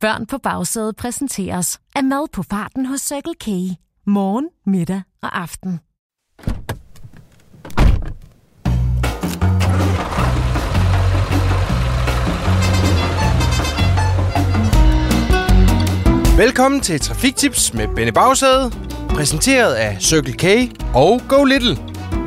Børn på bagsædet præsenteres af mad på farten hos Circle K. Morgen, middag og aften. Velkommen til Trafiktips med Benny Bagsæde, præsenteret af Circle K og Go Little.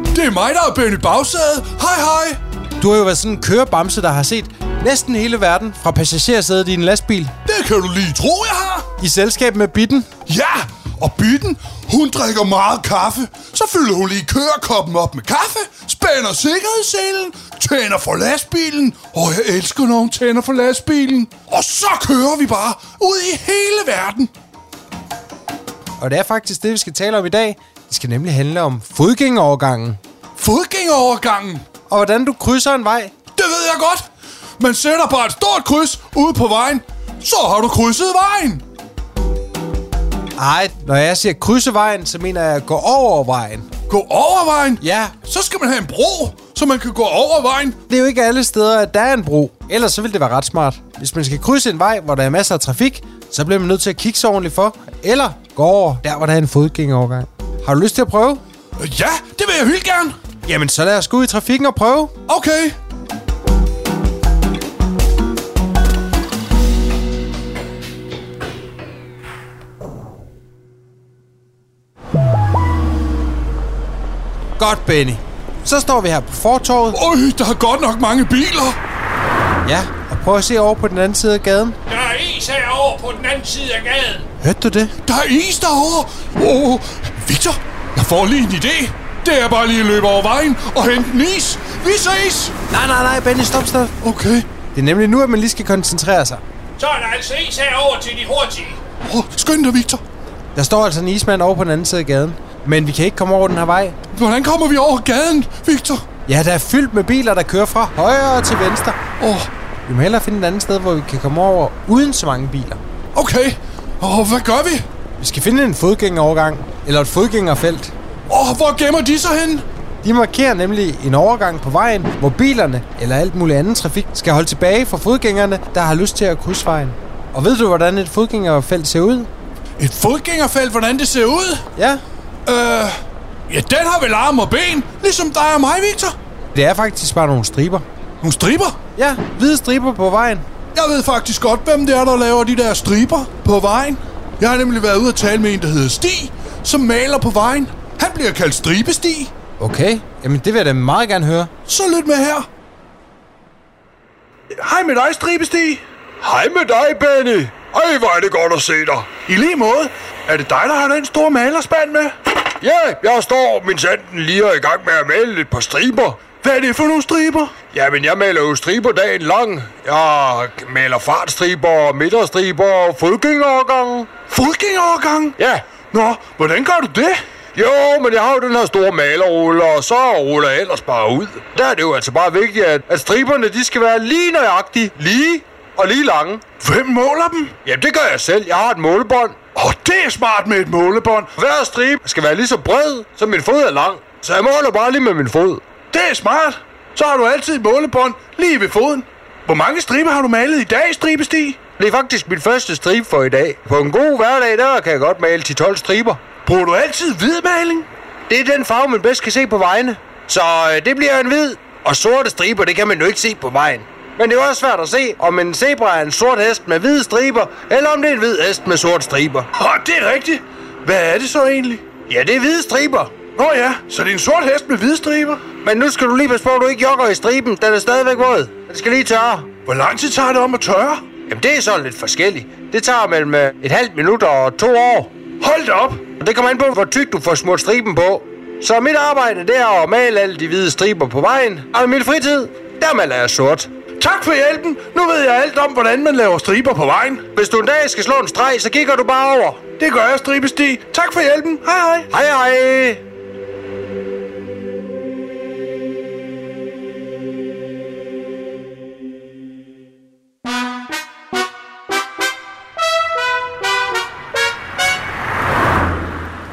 Det er mig, der er Benny Bagsæde. Hej, hej. Du har jo været sådan en kørebamse, der har set næsten hele verden fra passagersædet i en lastbil. Det kan du lige tro, jeg har. I selskab med Bitten. Ja, og Bitten, hun drikker meget kaffe. Så fylder hun lige kørekoppen op med kaffe, spænder sikkerhedsselen, tænder for lastbilen. Og jeg elsker, når hun tænder for lastbilen. Og så kører vi bare ud i hele verden. Og det er faktisk det, vi skal tale om i dag. Det skal nemlig handle om fodgængerovergangen. Fodgængerovergangen, Og hvordan du krydser en vej. det ved jeg godt. Man sætter bare et stort kryds ude på vejen. Så har du krydset vejen. Ej, når jeg siger krydse vejen, så mener jeg gå over vejen. Gå over vejen. Ja, Så skal man have en bro, så man kan gå over vejen. det er jo ikke alle steder, at der er en bro. Ellers så ville det være ret smart. Hvis man skal krydse en vej, hvor der er masser af trafik, så bliver man nødt til at kigge sig ordentligt for. Eller gå over der, hvor der er en fodgængerovergang. Har du lyst til at prøve? Ja, det vil jeg helt gerne. Jamen, så lad os gå ud i trafikken og prøve. Okay. Godt, Benny. Så står vi her på fortorvet. Øj, der er godt nok mange biler. Ja, og prøv at se over på den anden side af gaden. Der er is herovre på den anden side af gaden. Hørte du det? Der er is derovre. Åh, oh, Victor, jeg får lige en idé. Det er bare lige at løbe over vejen og hente en is. Vi ses. Nej, nej, nej, Benny, stop, stop. Okay. Det er nemlig nu, at man lige skal koncentrere sig. Så er der altså is herovre til de hurtige. Oh, skynd dig, Victor. Der står altså en ismand over på den anden side af gaden. Men vi kan ikke komme over den her vej. Hvordan kommer vi over gaden, Victor? Ja, der er fyldt med biler, der kører fra højre til venstre. Åh, oh, Vi må hellere finde et andet sted, hvor vi kan komme over uden så mange biler. okay. Åh, oh, hvad gør vi? Vi skal finde en fodgængerovergang, eller et fodgængerfelt. Åh, oh, hvor gemmer de sig hen? De markerer nemlig en overgang på vejen, hvor bilerne eller alt muligt andet trafik skal holde tilbage for fodgængerne, der har lyst til at krydse vejen. Og ved du, hvordan et fodgængerfelt ser ud? Et fodgængerfelt, hvordan det ser ud? Ja, Øh, ja, den har vel arme og ben, ligesom dig og mig, Victor. det er faktisk bare nogle striber. Nogle striber. Ja, hvide striber på vejen. Jeg ved faktisk godt, hvem det er, der laver de der striber på vejen. Jeg har nemlig været ude og tale med en, der hedder Stig, som maler på vejen. Han bliver kaldt Stribestig. Okay, jamen det vil jeg da meget gerne høre. Så lyt med her. Hej med dig, Stribestig. Hej med dig, Benny. Ej, hvor er det godt at se dig. I lige måde. Er det dig, der har den store malerspand med? Ja, jeg står min sanden lige og i gang med at male et par striber. Hvad er det for nogle striber? Jamen, jeg maler jo striber dagen lang. Jeg maler fartstriber, midterstriber og fodgængerovergange. Fodgængerovergang? Ja, Nå, hvordan gør du det? jo, men jeg har jo den her store malerrulle, og så ruller jeg ellers bare ud. Der er det jo altså bare vigtigt, at, at striberne de skal være lige nøjagtige, lige og lige lange. Hvem måler dem? Jamen, det gør jeg selv. Jeg har et målebånd. Åh, oh, det er smart med et målebånd. Hver stribe skal være lige så bred, som min fod er lang. Så jeg måler bare lige med min fod. Det er smart. Så har du altid et målebånd lige ved foden. Hvor mange striber har du malet i dag, Stribestig? Det er faktisk min første stribe for i dag. På en god hverdag, der kan jeg godt male 10-12 striber. Bruger du altid hvidmaling? Det er den farve, man bedst kan se på vejene. Så øh, det bliver en hvid. Og sorte striber, det kan man jo ikke se på vejen. Men det er jo også svært at se, om en zebra er en sort hest med hvide striber, eller om det er en hvid hest med sorte striber. Åh, oh, det er rigtigt. Hvad er det så egentlig? Ja, det er hvide striber. Nå ja, så det er en sort hest med hvide striber. Men nu skal du lige passe på, at du ikke jogger i striben. Den er stadigvæk våd. Den skal lige tørre. Hvor lang tid tager det om at tørre? Jamen, det er sådan lidt forskelligt. Det tager mellem øh, et halvt minut og to år. Hold da op. Og det kommer an på, hvor tyk du får smurt striben på. Så mit arbejde, det er at male alle de hvide striber på vejen. Og i min fritid, der maler jeg sort. Tak for hjælpen. Nu ved jeg alt om, hvordan man laver striber på vejen. Hvis du en dag skal slå en streg, så kigger du bare over. Det gør jeg, Stribestig. Tak for hjælpen. Hej hej. Hej hej!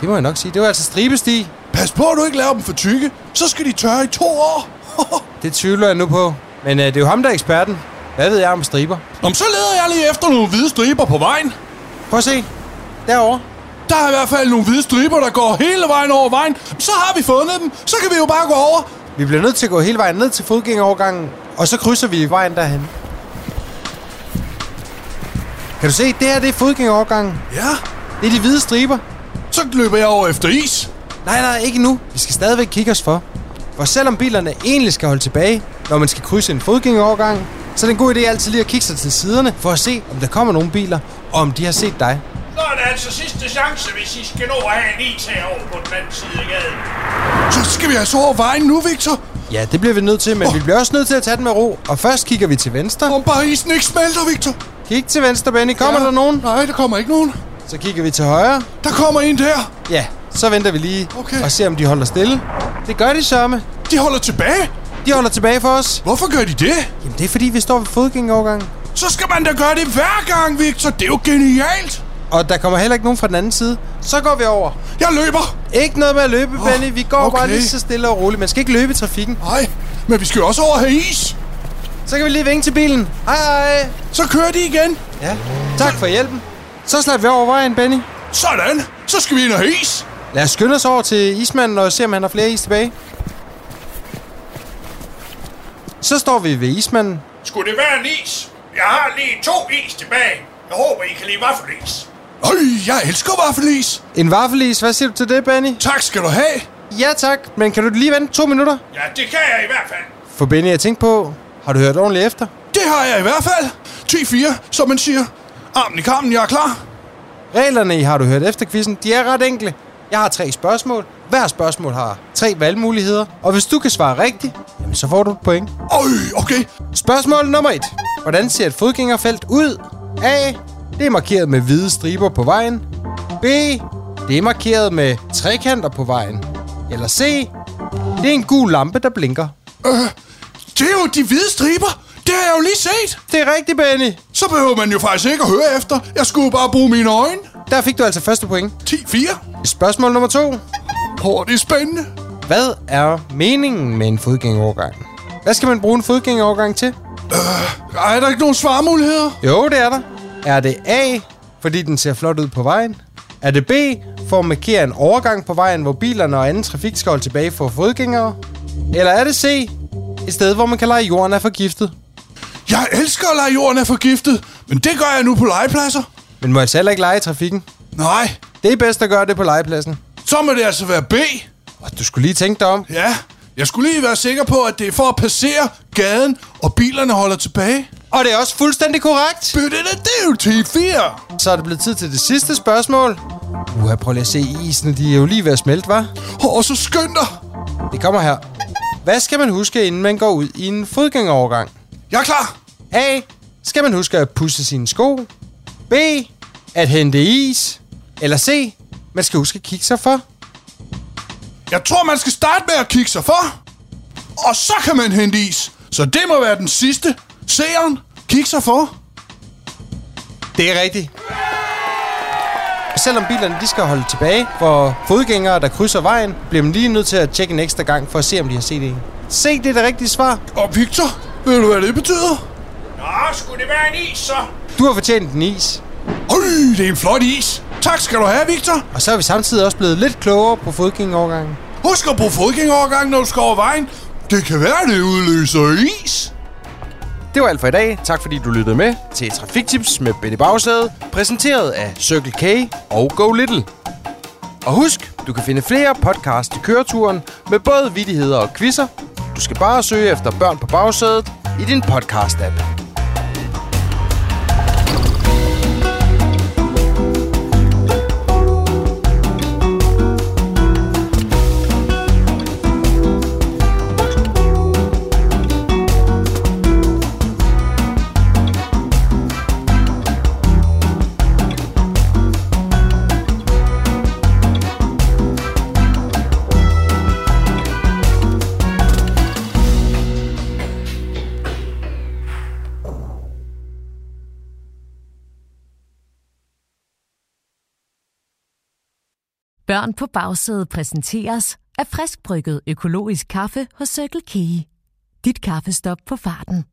Det må jeg nok sige. Det var altså stribesti. Pas på, at du ikke laver dem for tykke. Så skal de tørre i to år. Det tvivler jeg nu på. Men øh, det er jo ham, der er eksperten. Hvad ved jeg om striber? Nå, men så leder jeg lige efter nogle hvide striber på vejen. Prøv at se. Derovre. Der er i hvert fald nogle hvide striber, der går hele vejen over vejen. Så har vi fundet dem. Så kan vi jo bare gå over. Vi bliver nødt til at gå hele vejen ned til fodgængerovergangen, og så krydser vi vejen derhen. Kan du se, det her det er fodgængerovergangen. Ja, Det er de hvide striber. så løber jeg over efter is. Nej, nej, ikke nu. Vi skal stadigvæk kigge os for. For selvom bilerne egentlig skal holde tilbage, når man skal krydse en fodgængerovergang, så er det en god idé altid lige at kigge sig til siderne, for at se, om der kommer nogle biler, og om de har set dig. Så er det altså sidste chance, hvis I skal nå at have en IT over på den anden side af gaden. Så skal vi altså over vejen nu, Victor. Ja, det bliver vi nødt til, men Åh. vi bliver også nødt til at tage den med ro. Og først kigger vi til venstre. Om bare isen ikke smelter, Victor. Kig til venstre, Benny. Kommer Ja. der nogen? Nej, der kommer ikke nogen. Så kigger vi til højre. Der kommer en der. Ja, så venter vi lige Okay. og ser, om de holder stille. Det gør de sørme. De holder tilbage. De holder tilbage for os. Hvorfor gør de det? Jamen, det er fordi, vi står ved fodgængerovergangen. Så skal man da gøre det hver gang, Victor. Det er jo genialt. Og der kommer heller ikke nogen fra den anden side. Så går vi over. Jeg løber. Ikke noget med at løbe, oh, Benny. Vi går okay. bare okay. lige så stille og roligt. Man skal ikke løbe i trafikken. Nej, men vi skal jo også over og have is. Så kan vi lige vinke til bilen. Hej, hej. Så kører de igen. Ja. Tak for hjælpen. Så slap vi over vejen, Benny. Sådan. Så skal vi ind og have is. Lad os skynde os over til ismanden og se, om han har flere is tilbage. Så står vi ved ismanden. Skulle det være en is? Jeg har lige to is tilbage. Jeg håber, I kan lide vaffelis. Øj, jeg elsker vaffelis. En vaffelis. Hvad siger du til det, Benny? Tak skal du have. Ja tak, men kan du lige vente to minutter? Ja, det kan jeg i hvert fald. For Benny, jeg tænkte på, har du hørt ordentligt efter? Det har jeg i hvert fald. 10-4, som man siger. Armen i kammen, jeg er klar. Reglerne i Har du hørt efter quizzen, de er ret enkle. Jeg har tre spørgsmål. Hver spørgsmål har tre valgmuligheder. Og hvis du kan svare rigtigt, jamen så får du et point. Øj, okay. Spørgsmål nummer 1. Hvordan ser et fodgængerfelt ud? A. Det er markeret med hvide striber på vejen. B. Det er markeret med trekanter på vejen. Eller C. Det er en gul lampe, der blinker. Øh, det er jo de hvide striber. Det har jeg jo lige set. Det er rigtigt, Benny. Så behøver man jo faktisk ikke at høre efter. Jeg skulle jo bare bruge mine øjne. Der fik du altså første point. 10-4. Spørgsmål nummer 2. Åh, det er spændende. Hvad er meningen med en fodgængerovergang? Hvad skal man bruge en fodgængerovergang til? Ej, er der ikke nogen svarmuligheder? Jo, det er der. Er det A, fordi den ser flot ud på vejen? Er det B, for at markere en overgang på vejen, hvor bilerne og anden trafik skal holde tilbage for fodgængere? Eller er det C, et sted, hvor man kan lege jorden er forgiftet? Jeg elsker at lege jorden er forgiftet, men det gør jeg nu på legepladser. Men må altså heller ikke lege i trafikken. Nej, Det er bedst at gøre det på legepladsen. så må det altså være B. Og du skulle lige tænke dig om. Ja, jeg skulle lige være sikker på, at det er for at passere gaden, og bilerne holder tilbage. Og det er også fuldstændig korrekt. Bytte det, det er jo 10-4. Så er det blevet tid til det sidste spørgsmål. Uha, prøv lige at se isen, de er jo lige ved at smelte, var? Åh, så skynd dig. Det kommer her. Hvad skal man huske, inden man går ud i en fodgængerovergang? Jeg er klar. A. Skal man huske at pusse sine sko? B. At hente is? Eller C. Man skal huske at kigge sig for? Jeg tror, man skal starte med at kigge sig for. Og så kan man hente is. Så det må være den sidste. Seeren, kig sig for. Det er rigtigt. Selvom bilerne de skal holde tilbage for fodgængere, der krydser vejen, bliver man lige nødt til at tjekke en ekstra gang for at se, om de har set en. Se, det er det rigtige svar. Og Victor, ved du, hvad det betyder? Nå, skulle det være en is, så? Du har fortjent en is. Øj, det er en flot is. Tak skal du have, Victor. Og så er vi samtidig også blevet lidt klogere på fodgængerovergangen. Husk at bruge fodgængerovergangen, når du skal over vejen. Det kan være, det udløser is. Det var alt for i dag. Tak fordi du lyttede med til Trafiktips med Benny Bagsæde, præsenteret af Circle K og Go Little. Og husk, du kan finde flere podcasts til køreturen med både vittigheder og quizzer. Du skal bare søge efter børn på bagsædet i din podcast-app. Børn på bagsædet præsenteres af friskbrygget økologisk kaffe hos Circle K. Dit kaffestop på farten.